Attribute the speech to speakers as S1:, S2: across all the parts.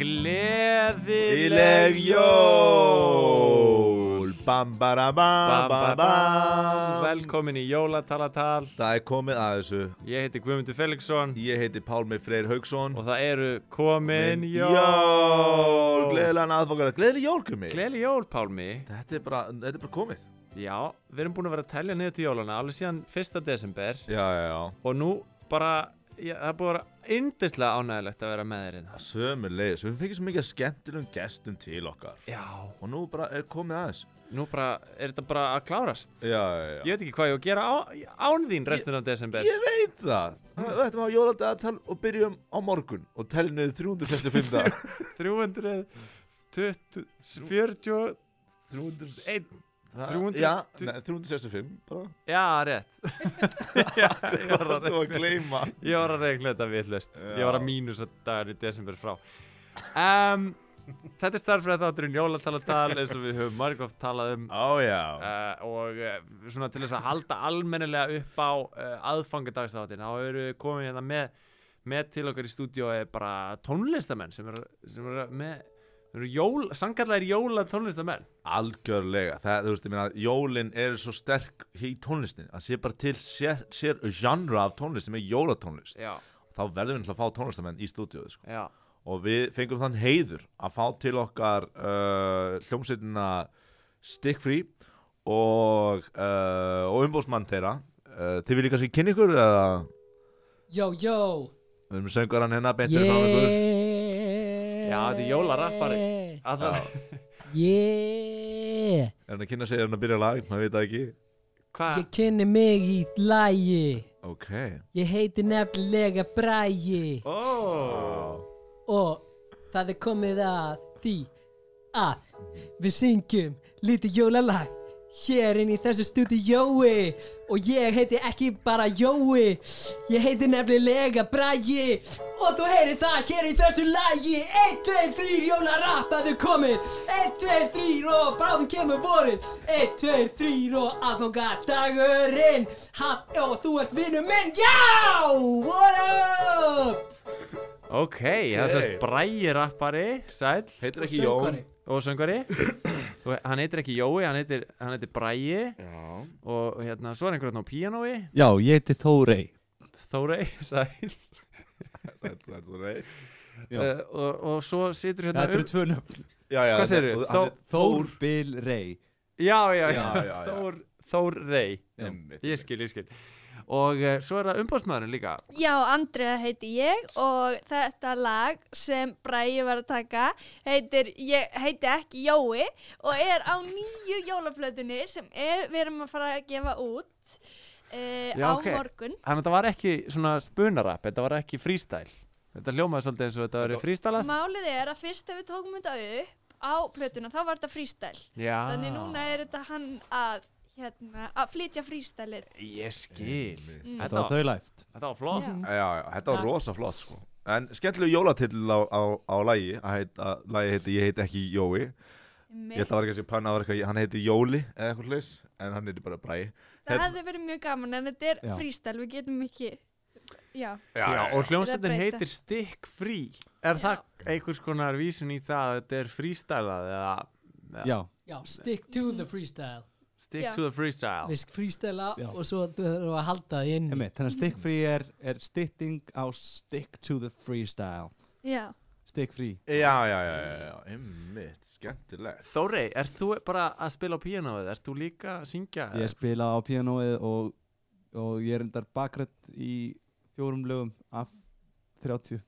S1: Gleðileg
S2: Íleg jól Bam bara bam
S1: Bam,
S2: bam
S1: bam, bam.
S2: bam
S1: Velkomin í jólatalatal
S2: Það er komið að þessu
S1: Ég heiti Guðmundur Felixson
S2: Ég heiti Pálmi Freyr Haugsson
S1: Og það eru komin
S2: Jól
S1: jól
S2: Gleðilegan aðfangar Gleðileg jól kumi
S1: Gleðileg jól Pálmi
S2: Þetta er bara, þetta er bara komið
S1: Já, við erum búin að vera að telja niður til jólana Alveg síðan 1. desember
S2: Já, já, já
S1: Og nú bara, já, það er búin að vera yndislega ánægilegt að vera með þér hérna.
S2: Sömur leiðis Við fengið svo mikið af skemmtilegum gestum til okkar
S1: Já,
S2: Og nú bara er komið að þessu
S1: nú bara, er þetta bara að klárast
S2: Já, já, já
S1: Ég veit ekki hvað ég á að gera á, án þín restin af desember
S2: Ég veit það Við ættum að jóladagatal og byrjum á morgun og teljum niður 365 dag
S1: 300 20, 40
S2: 300
S1: 1
S2: Það-
S1: 300
S2: Já, nei, 365 bara
S1: Já, rétt já, ég, var að,
S2: Varstu að gleyma
S1: ég var að regla þetta vitlust Ég var að
S2: Já.
S1: mínus að dagar í desember frá um, Þetta er starfræð þátturinn jólatalatal eins og við höfum margóft talað um
S2: Ó já
S1: Uh, og uh, svona til þess að halda almennilega upp á uh, aðfangadagstáttin þá eru við komin hérna með, með til okkar í stúdíó er bara tónlistamenn sem eru, sem eru með þeir eru jól, sangarlega jóla tónlistamenn
S2: Algjörlega, það, þú veist, ég meina Jólin eru svo sterk í tónlistin að sé bara til sér, sér genre af tónlist sem er jólatónlist
S1: já,
S2: þá verðum við náttúrulega að fá tónlistamenn í stúdíóðu sko.
S1: já,
S2: og við fengum þann heiður að fá til okkar uh, hljómsveitina Stick Free og, uh, og umbóðsmann þeirra uh, Þið viljið kannski kynni ykkur eða
S3: Jó, jó
S2: við erum söngarann hérna beintur frá ykkur
S3: Yeah
S1: Já, þetta er jólarappari. Alla,
S3: Yeah
S2: Er hann að kynna sig, er hann að byrja lag, maður veit það ekki
S1: hva,
S3: Ég kynni mig í lægi
S2: Ok
S3: Ég heiti nefnilega Brægi
S1: oh,
S3: Og það er komið að því að Við syngjum lítið jólalag Hér inn í þessu stúdíói Og ég heiti ekki bara Jói Ég heiti nefnilega Brægi Og þú heyrir það hér í þessu lagi 1, 2, 3, jólarappaðu komið 1, 2, 3 og bráðum kemur vorið 1, 2, 3 og aðfangadagurinn Hatt og þú ert vinnu minn Já, what up
S1: ok, það sést bræi rappari sæll
S2: Heitir
S3: Og söngvari.
S1: og söngvari og hann heitir ekki Jói, hann heitir, hann heitir bræi
S4: Já.
S1: og og hérna, svo er einhver hérna á píanói
S4: Já, ég heiti Þórei.
S1: Þórei, sæll
S2: Þetta er þú reyð
S4: Já.
S1: uh, og, og svo situr hérna
S4: Þetta eru tvö nöfn.
S2: já, já,
S1: Hvað segirðu?
S2: þú-
S1: Þó-
S2: hann er-
S4: Þór, Bill, Rey.
S1: Já, já, já,
S2: Já, já, já.
S1: Þór, Þór Rey
S4: Já.
S2: Einmitt,
S1: Ég skil, ég skil Og uh, svo er það umbásmaðurinn líka
S5: Já, Andrea heiti ég og þetta lag sem Bræði var að taka heitir, ég heiti ekki Jói og er á nýju jólaflötunni sem er, við erum að fara að gefa út uh,
S1: Já,
S5: á
S1: ok.
S5: morgun.
S1: Þannig að þetta var ekki svona spunarap Þetta var ekki freestyle Þetta hljómaði svolítið eins og þetta verið freestyle
S5: Málið er að fyrst ef við tókum þetta upp á plötuna þá var þetta freestyle.
S1: Já
S5: Þannig núna er þetta hann að, hérna, að flytja freestyle-ið.
S1: Ég skil
S2: Einmitt.
S5: Mm.
S4: Þetta
S1: Þetta,
S4: var þau læft.
S1: þetta var flott
S5: Já.
S2: Já, já, þetta var
S5: Já.
S2: rosa flott sko En skemmtilegu jólatill á, á, á lagi að heit, að lagi heiti Ég heiti ekki Jói Ég ætla að vera kannski að panna að vera eitthvað Hann heiti Jóli eða eitthvað hlaus En hann heiti bara Bræi
S5: Það
S2: hérna-
S5: hefði verið mjög gaman en þetta er
S4: Já.
S5: freestyle, við getum ekki, já.
S1: Já, og hljómsveitin
S5: Þetta breyta.
S1: heitir Stick Free Er það einhvers konar vísun í það að þetta er freestylað eða Já.
S4: Já.
S3: Já, stick to the freestyle
S1: Stick
S5: Já.
S1: to the freestyle
S3: Við sk- freestyla
S4: Já.
S3: og svo þurfum við að halda því inn
S4: Emme, þannig að stick free er, er stytting á stick to the freestyle.
S5: Já.
S4: Stick free.
S2: Já, já, já, já, já, einmitt, skemmtilegt
S1: Þórei, ert þú bara að spila á píanóið? Ert þú líka að syngja?
S4: Ég spila á pianoið og, og ég er endar bakrætt í fjórum lögum af 30.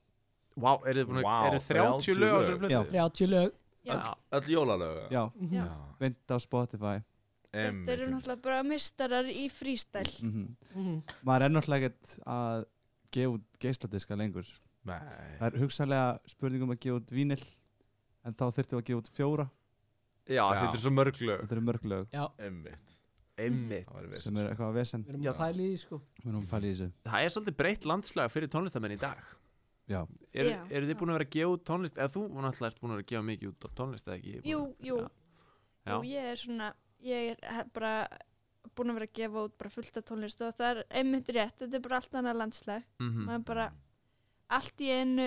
S1: Vá, wow, eru þið búin að,
S2: Vá,
S1: wow, eru 30 lög á þessari
S2: lög.
S1: plötu?
S4: Já.
S3: 30 lög
S5: Já.
S2: Öll jólalög
S4: Já,
S5: Já.
S4: vind á Spotify.
S5: Þetta eru
S2: einmitt
S5: náttúrulega bara mistarar í freestyle.
S4: Mm
S3: mm.
S4: Maður er náttúrulega ekkert að gefa út geisladiska lengur.
S2: Nei.
S4: Það er hugsalega spurningum að gefa út vínil en þá þurftum við að gefa út fjóra
S1: Já,
S2: Já.
S1: þetta er svo mörg lög
S4: Þetta eru mörg lög
S3: Já,
S2: Einmitt,
S1: Einmitt
S2: það var
S4: sem
S2: veist
S4: er eitthvað að vesen
S3: við erum
S1: Já.
S3: að pæla í því sko
S4: Við erum að pæla í þessu
S1: Það er svolítið breytt landslag fyrir tónlistamenn í dag
S4: Já,
S1: Er,
S5: Já.
S1: Eru þið búin að vera að gefa út tónlist eða þú náttúrulega ert búin að vera að gefa mikið út á tónlist eða ekki?
S5: Jú, jú,
S1: Já.
S5: og ég er svona, ég er he- bara búin að vera að gefa út bara fullt af tónlist og
S1: Mhm.
S5: það er einmitt rétt, þetta er bara allt annað landslag.
S1: mm
S5: Maður bara allt í einu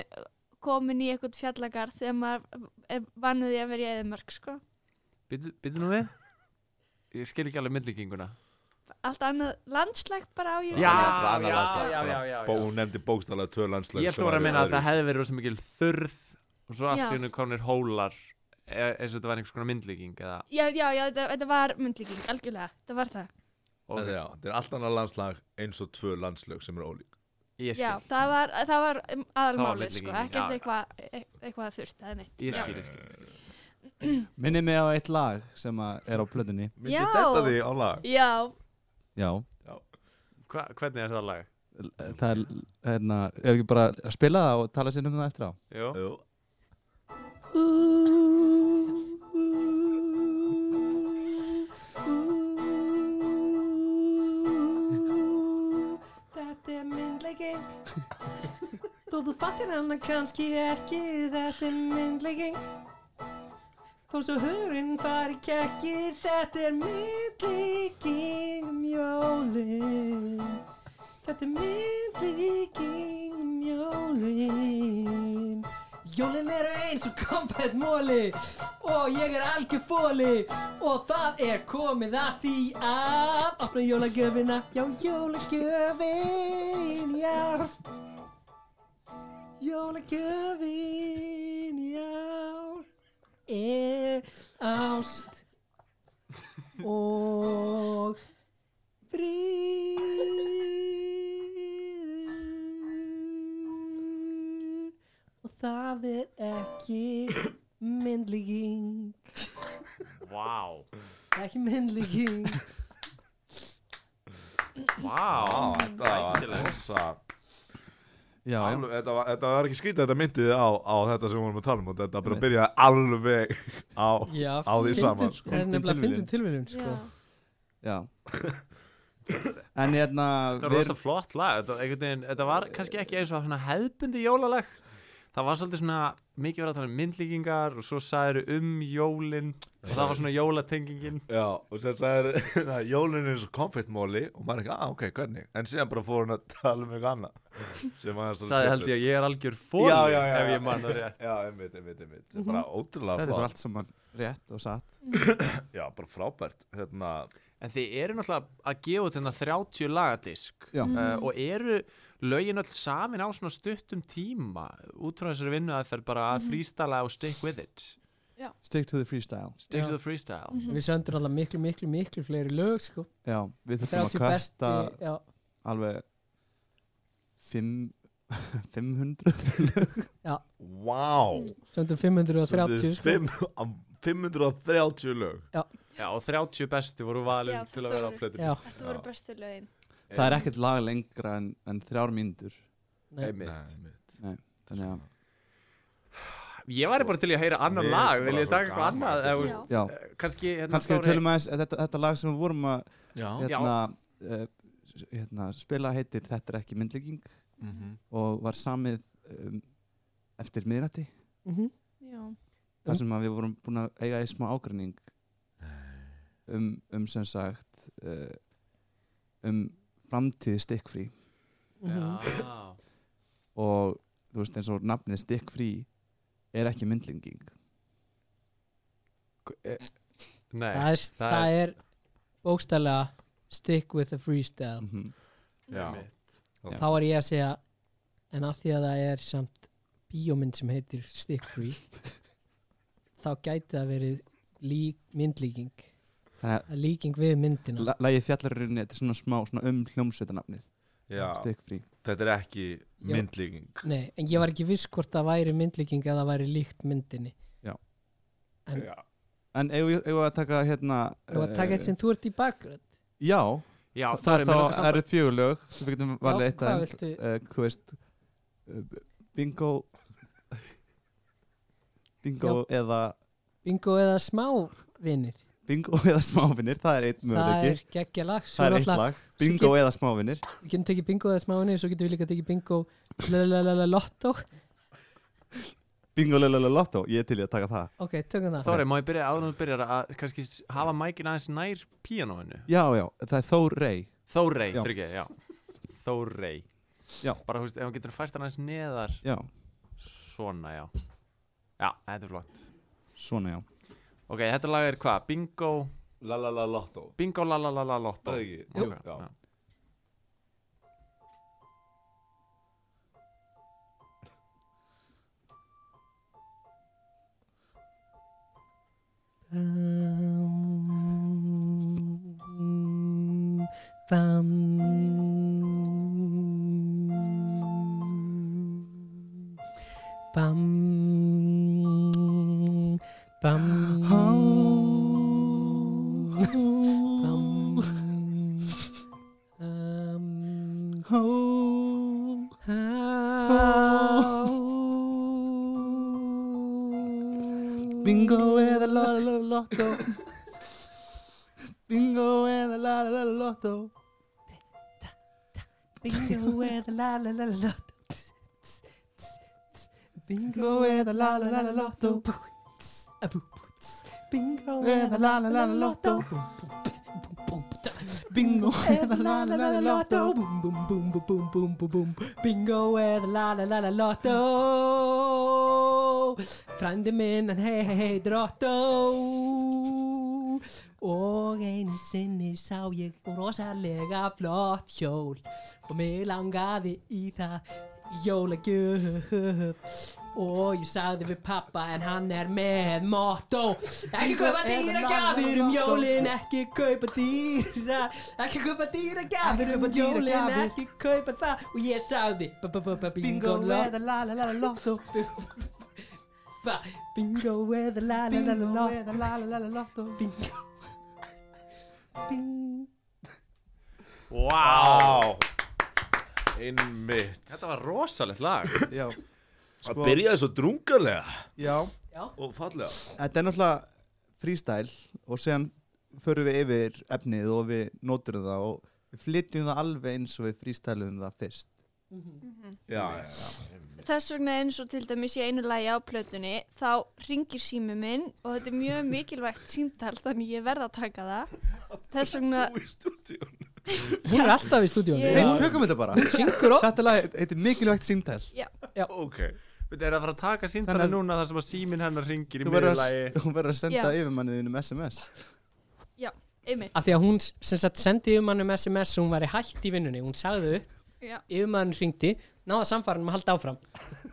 S5: komin í eitthvað fjallagar þegar maður er vannuði að vera í eðimörk sko.
S1: Býttu nú við Ég skil ekki alveg myndlíkinguna
S5: allt annað landslag bara á ég
S1: Já,
S5: við.
S2: Bara annað
S1: já,
S2: landslag,
S1: já,
S2: bara.
S1: já, já, já.
S2: Bó- Hún nefndi bókstallega tvö landslag
S1: Ég ætla
S2: sem
S1: bara að
S2: væru
S1: minna að það
S2: öðruvísi.
S1: hefði verið rosa mikil þurð og svo allt
S5: Já.
S1: í hennu komnir hólar e- eins og þetta var einhvers konar myndlíking eða,
S5: já, já, já, þetta, þetta var myndlíking algjörlega, þetta var það
S1: og,
S2: Já, Þetta er allt annað landslag eins og tvö landslög sem eru ólík
S1: Ég
S5: já,
S1: skil,
S5: það var, það var
S1: Það var
S5: aðalmáli sko,
S1: myndlíking, já,
S5: ekkert
S1: já.
S5: eitthvað e-, eitthvað þurft, það er neitt
S1: ég
S5: Já.
S1: skil, ég skil
S4: Minni mig á eitt lag sem að er á plötunni
S2: Myndi
S5: Já.
S2: þetta því á lag
S5: já,
S4: Já,
S1: Hva, Hvernig er það lag?
S4: l- það er hérna, ef ekki bara að spila það og tala sér um það eftir á
S1: Jú,
S2: Jú.
S3: Þetta er myndlegging Þó þú fattir hana kannski ekki Þetta er myndlegging Þó svo hugurinn fari kekki Þetta er myndlegging um jólin Þetta er myndlegging um jólin Jólin eru eins og kompætt móli og ég er algjör fóli og það er komið að því að opna jólagjöfina, já jólagjöfin, já Jólagjöfin, já er ást og fríður og það er ekki myndlíking
S1: vá
S3: ekki myndlíking
S1: Vá,
S2: Á, Þetta var
S1: Glæsilegt.
S2: rosa
S4: Já,
S2: Alveg, þetta, var, þetta var ekki skrítið, þetta myndið á, á þetta sem við vorum að tala um og þetta bara
S4: Einmitt.
S2: byrjaði alveg á
S3: Já,
S2: Á því saman, sko.
S3: Það er nefnilega
S4: Fyndin
S3: fyndin tilviljun sko.
S5: já.
S4: já En hérna
S1: Þetta var
S4: við-
S1: rosa flott lag Þetta, var einhvern veginn, þetta var kannski ekki eins og svona hefðbundi jólalag Það var svolítið svona mikið verið að tala um myndlíkingar og svo sagðir um jólin og það var svona jólatengingin
S2: Já, og sem sagði það, jólun er eins og konfektmóli og maður er ekki, ah, ok, hvernig en síðan bara fór hún að tala um eitthvað annað sem var svo
S1: sagði held ég að ég er algjör fóli
S2: já, já, já,
S1: ef ég man það rétt Mhm.
S2: Já, einmitt, einmitt, einmitt Þetta er bara ótrúlega
S4: Þetta er bara
S2: flott
S4: allt saman rétt og satt
S2: Já, bara frábært hérna,
S1: En þið eru náttúrulega að gefa út hérna 30 lagadisk
S4: Já.
S1: uh, og eru lögin öll samin á svona stuttum tíma út frá þessari vinnu að bara að freestyla og stick with it
S4: Stick to the freestyle
S1: Stick
S3: Já.
S1: to the freestyle
S3: Við söndum alltaf miklu, miklu, miklu fleiri lög sko.
S4: Já, við þurfum að
S3: 30
S4: kasta
S3: besti já,
S4: alveg fimm- 500
S2: wow
S3: Söndum
S2: Svo þetta
S3: 530
S2: er
S3: sko.
S2: fimm- á 530 lög
S1: Já, og 30 bestu voru valin
S5: Já,
S1: til að
S5: þetta
S1: vera á
S5: voru-
S1: plötunni
S3: Já,
S5: þetta voru bestu lögin
S4: Það er ekkert lag lengra en, en þrjár mínútur
S3: nei,
S1: Einmitt.
S4: Þannig að,
S1: Ég væri bara til í að heyra annar
S2: Mér
S1: lag,
S2: finnst
S1: vil ég
S2: bara
S1: taka
S2: svo
S1: eitthvað
S2: gaman.
S1: annað eða, þú
S5: Já.
S1: veist,
S4: já,
S1: eh, kannski hérna
S4: kannski við tölum aðeins þetta, þetta lag sem við vorum að
S2: Já,
S1: Já.
S4: hérna, uh, hérna, spila heitir Þetta er ekki myndlegging
S2: Mhm.
S4: og var samið um, eftir miðrætti
S3: Mhm.
S5: já,
S2: Mhm.
S4: þar sem að við vorum búin að eiga í smá ágrinning um, um sem sagt uh, um framtíð stikkfrí
S3: Mhm.
S1: Já,
S4: og þú veist eins og nafnið stikkfrí er ekki myndlenging
S1: nei
S3: Það er, það er bókstælega stick with the freestyle
S4: mm -hmm.
S2: Já.
S1: einmitt.
S3: Þá er ég að segja en af því að það er samt bíómynd sem heitir stick free þá gæti það verið lík, myndlíking
S4: það er
S3: Það er líking við myndina
S4: la- lagið fjallarurinn þetta er svona smá svona um hljómsveitanafnið
S2: Já,
S4: stikkfrí
S2: þetta er ekki myndlíking
S3: Nei, en ég var ekki viss hvort það væri myndlíking eða það væri líkt myndinni
S4: en eigum við- eigum við að taka hérna
S3: Þú var að taka eitt
S4: eh,
S3: sem þú ert í bakgrönd
S4: já,
S1: Já,
S4: það,
S1: það er
S4: þá
S1: mér langar samt
S4: það eru fjögulög þú getum valið eitt
S3: hvað
S4: af
S3: viltu?
S4: uh, þú veist uh, bingo bingo eða
S3: Bingo eða smávinir
S4: bingo eða smávinir, það er eitt
S3: Það er
S4: möguleiki
S3: geggja lag Svo
S4: það er eitt
S3: náttúrulega-
S4: lag, bingo eða smávinir
S3: Við getum tekið bingo eða smávinir Svo getum við líka tekið bingo lalalala lottó
S4: bingo lelele lotto, ég er til í að taka það
S3: Ok, tökum það
S1: Þóri, má ég byrja áður en þú byrjar að kannski s- hafa mækin aðeins nær píanóinu
S4: já, já, það er Þór Rey
S1: Þórei,
S4: Já.
S1: þryggja, já Þórei
S4: Já.
S1: Bara, þú veist, ef hann getur fært hann aðeins neðar
S4: já,
S1: svona, já Já, þetta er flott
S4: Svona já
S1: Ok, þetta lag er hvað? Bingo
S2: La la la lotto
S1: Bingo la la la la lotto
S2: Það er ekki
S1: Ok,
S2: Já.
S1: já.
S3: Bam, bam, bam, bam, bam, um, how-
S4: Bingo eða la la la lotto Bingo eða la la la lotto
S3: Bingo eða la la la la lotto Bingo
S4: Bingo eða la la la la lotto
S3: Bingo
S4: Eða la la la la lotto Bingo eða la la la la Eh, lotto
S3: Búm búm búm búm búm búm búm búm Bingo eða la la la la lotto Frændi minn hann hei hei hei eh, drotto Og einu sinni sá ég rosalega e flott hjól Og mig langaði í það jólagjöf Og ég sagði við pappa en hann er með motto Ekki kaupa dýra gafir um jólin Ekki kaupa dýra Ekki kaupa dýra gafir um jólin Ekki kaupa það Og ég sagði ba- ba- ba- ba- Bingo
S4: Bingo
S3: la-
S4: eða la la la la lotto
S3: ba- Bingo eða la la la la
S4: Bingo
S3: la
S4: eða la la la la lotto
S3: Bingo Bingo
S1: Vá
S2: Á Einmitt
S1: Þetta var rosalegt lag
S4: Já
S2: Það
S4: Sko-
S2: byrjaði svo drungalega
S4: Já
S3: Já,
S2: Og fallega
S4: Þetta er náttúrulega freestyle og séðan förum við yfir efnið og við nóturum það og við flytjum það alveg eins og við freestyleum það fyrst.
S2: Já, já, já
S5: Þess vegna eins og til dæmis í einu lagi á plötunni þá ringir sími minn og þetta er mjög mikilvægt símtal þannig ég verð að taka það. Þess vegna,
S2: Þú í stúdíun
S3: hún er alltaf í stúdíónu
S5: Ég-
S4: Nei,
S5: Já.
S4: tökum þetta bara.
S3: Syngur og
S4: Þetta lag heitir mikilvægt símtæl.
S2: Ok
S1: Við erum að fara að taka símtala
S4: Þannig að-
S1: núna þar sem að síminn hennar ringir í
S4: Þú verður
S1: miðurlagi
S4: að, þú verður að senda
S5: Já.
S4: yfirmanniðinum SMS.
S5: einmitt,
S3: Af því að hún sem sagt sendi yfirmannum SMS hún væri hætt í vinnunni, hún sagði upp
S5: já.
S3: yfirmann hringdi, náða samfæranum að halda áfram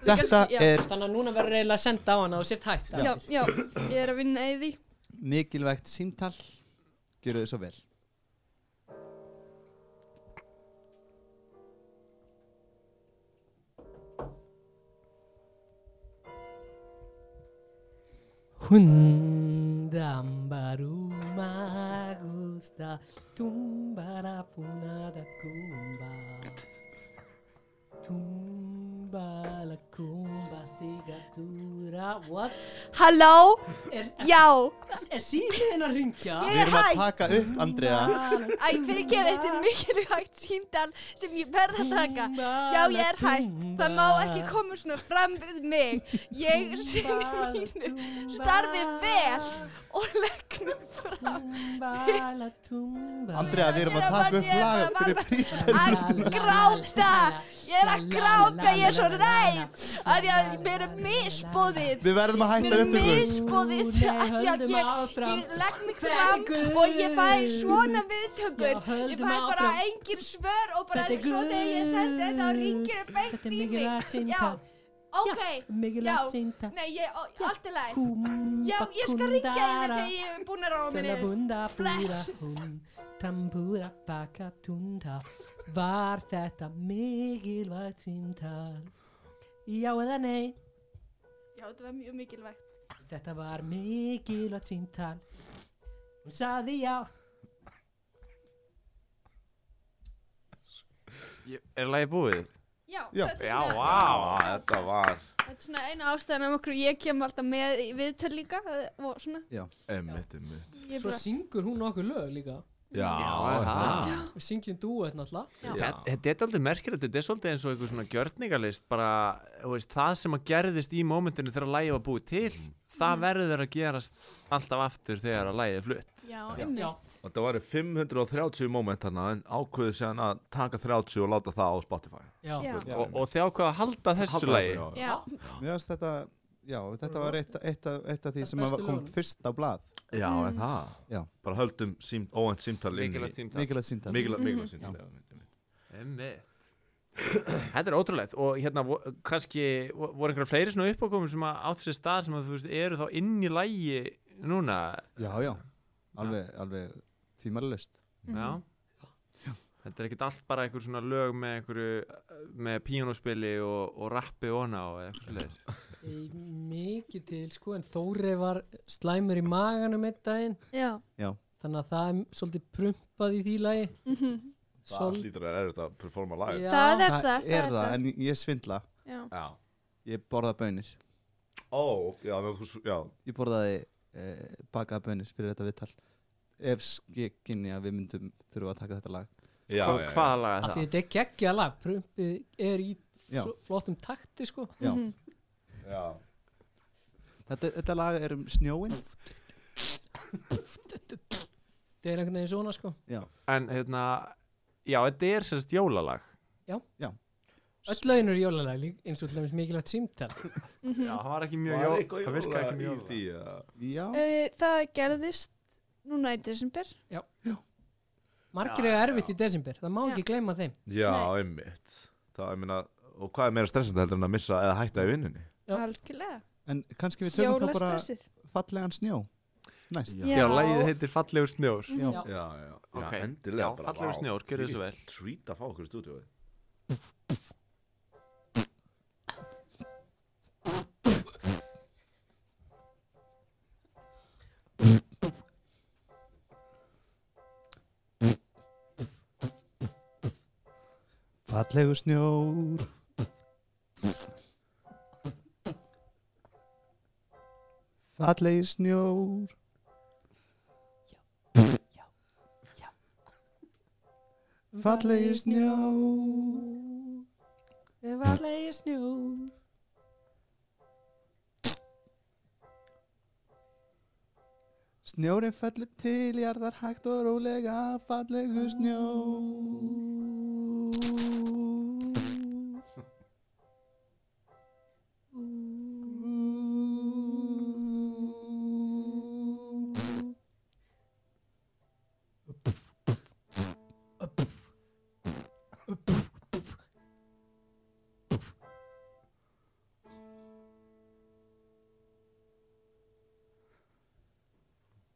S4: Þetta
S5: já.
S4: er
S3: þannig að núna verður eiginlega að senda á hana og sért hægt
S5: Já, já, ég er að vinna í því.
S4: mikilvægt símtæl. Gjöru þið svo vel.
S3: Hundambara uma gusta tumbara punada kumba tumbala kumba sigatura what
S5: Halló,
S3: er,
S5: já,
S3: er símiðin að ringja
S5: ég
S4: Við
S5: er
S4: erum að
S5: hætt.
S4: taka upp, Andrea.
S5: Æ, fyrir gefið, þetta er mikilvægt símtal sem ég verð að taka. Já, ég er hætt. Það má ekki koma svona fram við mig. Ég sinni mínu starfi vel og legg mig fram.
S3: tumbala tumbala
S4: Andrea, við erum að taka upp lag fyrir freestyle.
S5: að gráta ég er að gráta, ég er svo ræð að ég mér er misbóðið
S4: Við verðum að
S5: mér
S4: hætta
S5: er
S4: upptöku.
S5: misbóðið
S3: Nei,
S5: af því að
S3: höldum
S5: ég,
S3: áfram.
S5: ég legg mig
S3: Þetta er
S5: fram
S3: Guð.
S5: og ég fæ svona
S3: Já,
S5: viðtökur ég
S3: höldum
S5: fæ bara
S3: áfram.
S5: engin svör og bara
S3: Þetta er
S5: svo þegar ég sendi þetta og
S3: Guð.
S5: ringir upp beint
S3: Þetta er
S5: í
S3: mikilvægt
S5: mig já,
S3: símtal.
S5: ok já,
S3: mikilvægt sínta
S5: nei, ég, ó, allt er læg
S3: Kumba,
S5: já, ég skal ringja þér
S3: kundara,
S5: þegar ég er búin að ráða
S3: Tela
S5: minni
S3: bunda búra
S5: Bless.
S3: hún Tambúra baka tunda Var þetta mikilvægt síntal Já eða nei
S5: já, þetta var mjög mikilvægt
S3: Þetta var mikilvægt síntal Hún saði já
S1: Ég- Er lagi búið?
S5: já,
S4: Já.
S5: þetta er
S1: Já,
S5: svona-
S1: vá
S2: Þetta var
S5: Þetta er svona eina ástæðan af okkur ég kem alltaf með í viðtöl líka eh, og svona,
S2: Einmitt, einmitt
S5: ég er
S3: Svo
S5: bara
S3: syngur hún okkur lög líka
S2: Já,
S1: Já, það
S3: Við syngjum dúet náttúrulega
S1: Þetta þetta er aldrei merkilegt, þetta er svolítið eins og einhver svona gjörningalist bara, þú veist, það sem að gerðist í mómentinu þegar lægi var búið til það verður að gerast alltaf aftur þegar að lægið er flutt
S5: Já,
S2: Já.
S5: einmitt.
S2: Og það væri 530 moment þarna en ákveðu séðan að taka 30 og láta það á Spotify.
S3: já,
S5: Já.
S4: Já.
S1: og, og þið ákveða að halda þessu lægi
S2: já.
S5: Já,
S4: Mér finnst þetta, já, þetta var eitt, eitt, af, eitt af því
S3: Það
S4: sem
S3: bestu
S4: var- kom
S3: lögunum.
S4: fyrst á blað.
S2: Já,
S5: Mm.
S2: en það.
S4: Já.
S2: Bara höldum sím, óvænt símtal inn í.
S1: mikilvægt símtal
S4: Mikilvægt síndar.
S2: Mikil,
S5: Mhm.
S2: mikilvægt símtal. Mm-hmm. já.
S1: Einmitt. Þetta er ótrúlegt og hérna vo- kannski vo- voru einhverja fleiri svona uppákomum sem að átt þessi stað sem að þú veist eru þá inn í lægi núna
S4: Já, já, alveg, alveg tímalist.
S5: Mhm.
S1: Já. Þetta er ekkert allt bara einhver svona lög með einhverju með píjónospili og, og rappi og hana og eitthvað svoleiðis.
S3: Í- mikið til sko en Þórei var slæmur í maganum einn daginn
S5: já.
S3: þannig að það er svolítið prumpað í því lagi
S5: Mhm.
S2: Það hlýtur að er þetta að performa live.
S5: Það er það,
S4: það er það, en ég svindla.
S5: Já.
S2: Já.
S4: Ég borða bönir.
S2: Ó, já, þú- þú- já.
S4: Ég borðaði eh, bakaða bönir fyrir þetta viðtal. Ef skekinni að við myndum þurfa að taka þetta lag.
S2: Já,
S1: Hvað-
S2: já, já.
S1: Hvaða lag er
S3: af því
S1: það?
S3: þetta er geggja lag prumpið er í
S4: Já.
S3: svo flottum takti sko
S4: Já.
S2: Já.
S4: Þetta, þetta lag er um snjóin.
S3: þetta er einhvern veginn svona sko
S1: En hérna, já þetta er sérst jólalag.
S3: öll lögin eru jólalag lík- eins og til dæmis mikilvægt símtal
S5: Mhm.
S1: Já, það var ekki mjög
S2: Var
S1: jólalag,
S2: eitthvað
S1: það virkaði
S2: jóla
S1: ekki mjög
S2: í
S1: jólalag.
S2: því að-
S4: Já,
S5: Eh, Það gerðist núna í desember.
S3: margir eru erfitt í desember, það má
S5: Já.
S3: ekki gleyma þeim
S2: Já,
S5: Nei.
S2: einmitt. Það, ég meina, og hvað er meira stressandi heldur en að missa eða hætta í vinnunni?
S3: Já.
S5: Algjörlega.
S4: en kannski við tökum þá bara
S5: Jólastressið.
S4: fallegan snjó. Næst.
S5: Já.
S1: Já, lagið heitir Fallegur snjór.
S4: Já.
S3: Mhm. Já.
S2: Já, já.
S1: Ok.
S2: Já, endilega
S1: Já, fallegur snjór, gjörðu svo vel.
S2: Trýt að fá okkur í stúdíóið.
S4: Fallegu snjór Fallegi snjór
S3: já, já.
S4: Fallegi snjór
S3: varlegi snjó
S4: Snjórin fellur til jarðar hægt og rólega Fallegu snjór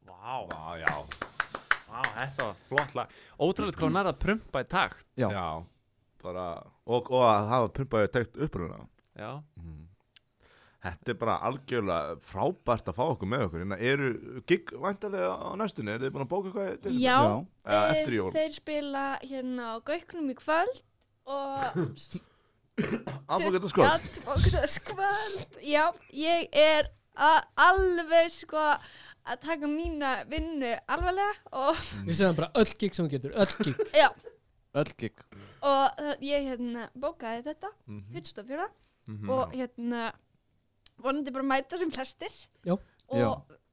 S1: Vá,
S2: Já, já.
S1: vá, þetta var flott lag. Ótrúlegt hvað hún er að prumpa í takt.
S4: Já.
S2: bara, og, og að hafa pumpaði tegt uppruna
S1: Já,
S2: Þetta er bara algjörlega frábært að fá okkur með okkur Hérna eru gig væntalega á næstunni Eru þið búin að bóka hvað þetta er?
S5: Já,
S2: Eða
S5: eh,
S2: eftir jól
S5: Þeir spila hérna á Gauknum í kvöld og
S2: Afbókað að skoða
S5: Advokataskvöld Já, ég er a- alveg sko að taka mína vinnu alvarlega og,
S3: við segðum bara öll gig sem hún getur, öll gig
S5: já,
S4: Öll gig
S5: og það- ég hérna bókaði þetta
S2: Mhm.
S5: 24.
S1: Mhm.
S5: og hérna vonandi bara mæta sem flestir
S3: Já.
S5: og
S4: Já.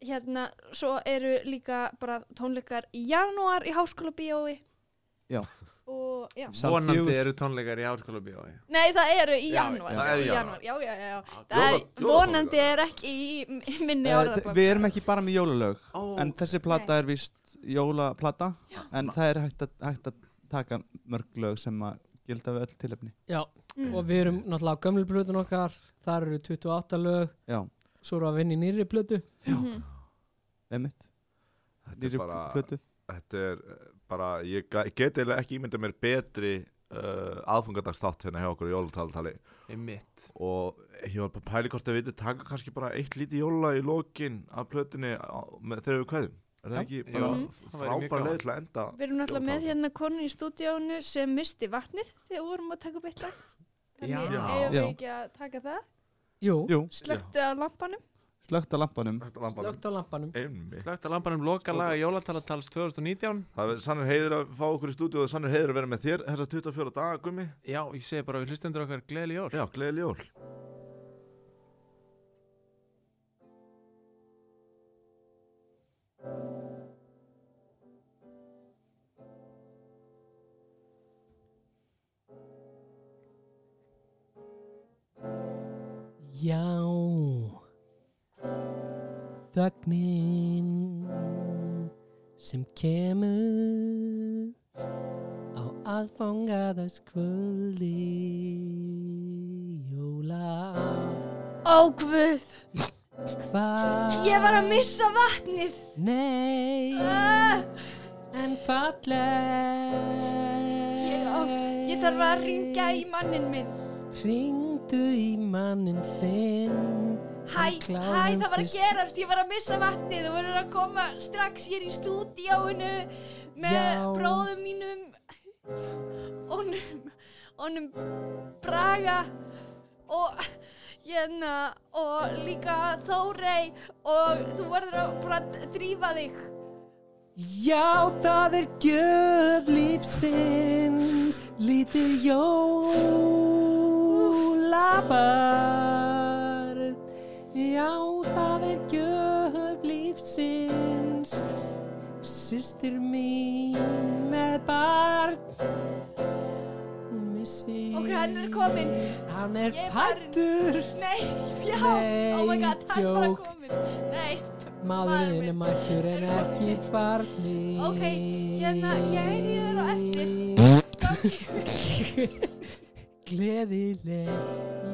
S5: hérna svo eru líka bara tónleikar í janúar í háskóla bíói
S4: Já.
S5: og já
S1: vonandi eru tónleikar í háskóla bíói
S5: Nei, það eru í
S1: Já,
S5: janúar,
S2: já,
S5: já,
S2: í
S5: í
S2: janúar.
S5: janúar, já, já, já, já.
S1: Já,
S5: Það er,
S2: jóla- jólatónleikar.
S5: vonandi er ekki í minni
S4: Eh,
S5: orðarbók.
S4: Við erum ekki bara með jólalög
S1: Ó,
S4: En þessi plata er víst jólaplata En það er hægt að, hægt að taka mörg lög sem að gilda við öll tilefni
S3: já,
S5: Mm.
S3: og við erum náttúrulega á gömlu blöðun okkar þar eru 28 lög
S4: Já,
S3: svo erum við að vinna í nýri blödu
S5: Mhm.
S4: emitt
S2: Þetta
S4: Nýri
S2: er bara,
S4: plötu
S2: þetta er eh, bara Ég ga- ég get eiginlega ekki ímyndað mér betri uh, aðfungadagsþátt hérna hjá okkur í jólutaltali
S1: er mitt
S2: og ég var bara pæli hvort að við taka kannski bara eitt lítið jóla í lokin af plötunni á, með, þegar við kveðum er það
S3: Já.
S2: ekki
S1: Jú,
S2: bara
S1: það væri mjög
S2: frábær
S1: gaman.
S2: leið til að enda
S5: Við erum náttúrulega með
S2: Jólatónleikar.
S5: hérna konu í stúdíónu sem misti vatnið þegar við vorum að taka upp eitt lag. Þannig
S1: Já.
S5: eigum við
S4: Já.
S5: ekki að taka það.
S3: jú,
S4: Jú,
S5: Slöktu að lampanum.
S4: slögt á lampanum
S2: Þetta lampa-
S3: slögt á lampanum
S2: Einmitt.
S1: Slögt að lampanum loka laga jólatalatals 2019
S2: Það er sannir heiður að fá okkur í stúdíu og sannir heiður að vera með þér þessar 24 daga, Gummi.
S1: Já, ég segi bara við hlustendur okkar gleðileg jól
S2: Já, gleðileg jól.
S3: Já Þögnin sem kemur á aðfangaðas kvöldi jóla
S5: Ó guð,
S3: hvað
S5: ég var að missa vatnið
S3: nei
S5: ah,
S3: en falleg
S5: Ég á- Ég þarf að ringja í mannin minn
S3: Ringdu í mannin þinn
S5: Hæ, hæ, það var að gerast, ég var að missa vatnið Þú verður að koma strax hér í stúdíáinu með
S3: Já.
S5: bróðum mínum honum, honum Braga og hérna og líka Þórey og þú verður að bara drífa þig
S3: Já, það er gjöf lífsins Lítið jólabarn Já, það er gjöf lífsins Systir mín með barn Missi
S5: Ok, hann er kominn.
S3: Hann er
S5: Ég er farinn.
S3: fættur
S5: Nei, já,
S3: Nei,
S5: oh my god, hann er bara
S3: djók.
S5: komin Nei, maður
S3: Maðurinn
S5: minn.
S3: er mættur en
S5: Er
S3: ekki
S5: kominn.
S3: barni
S5: Ok, hérna, ég heyri þér á eftir. Gangi-
S3: Gleðileg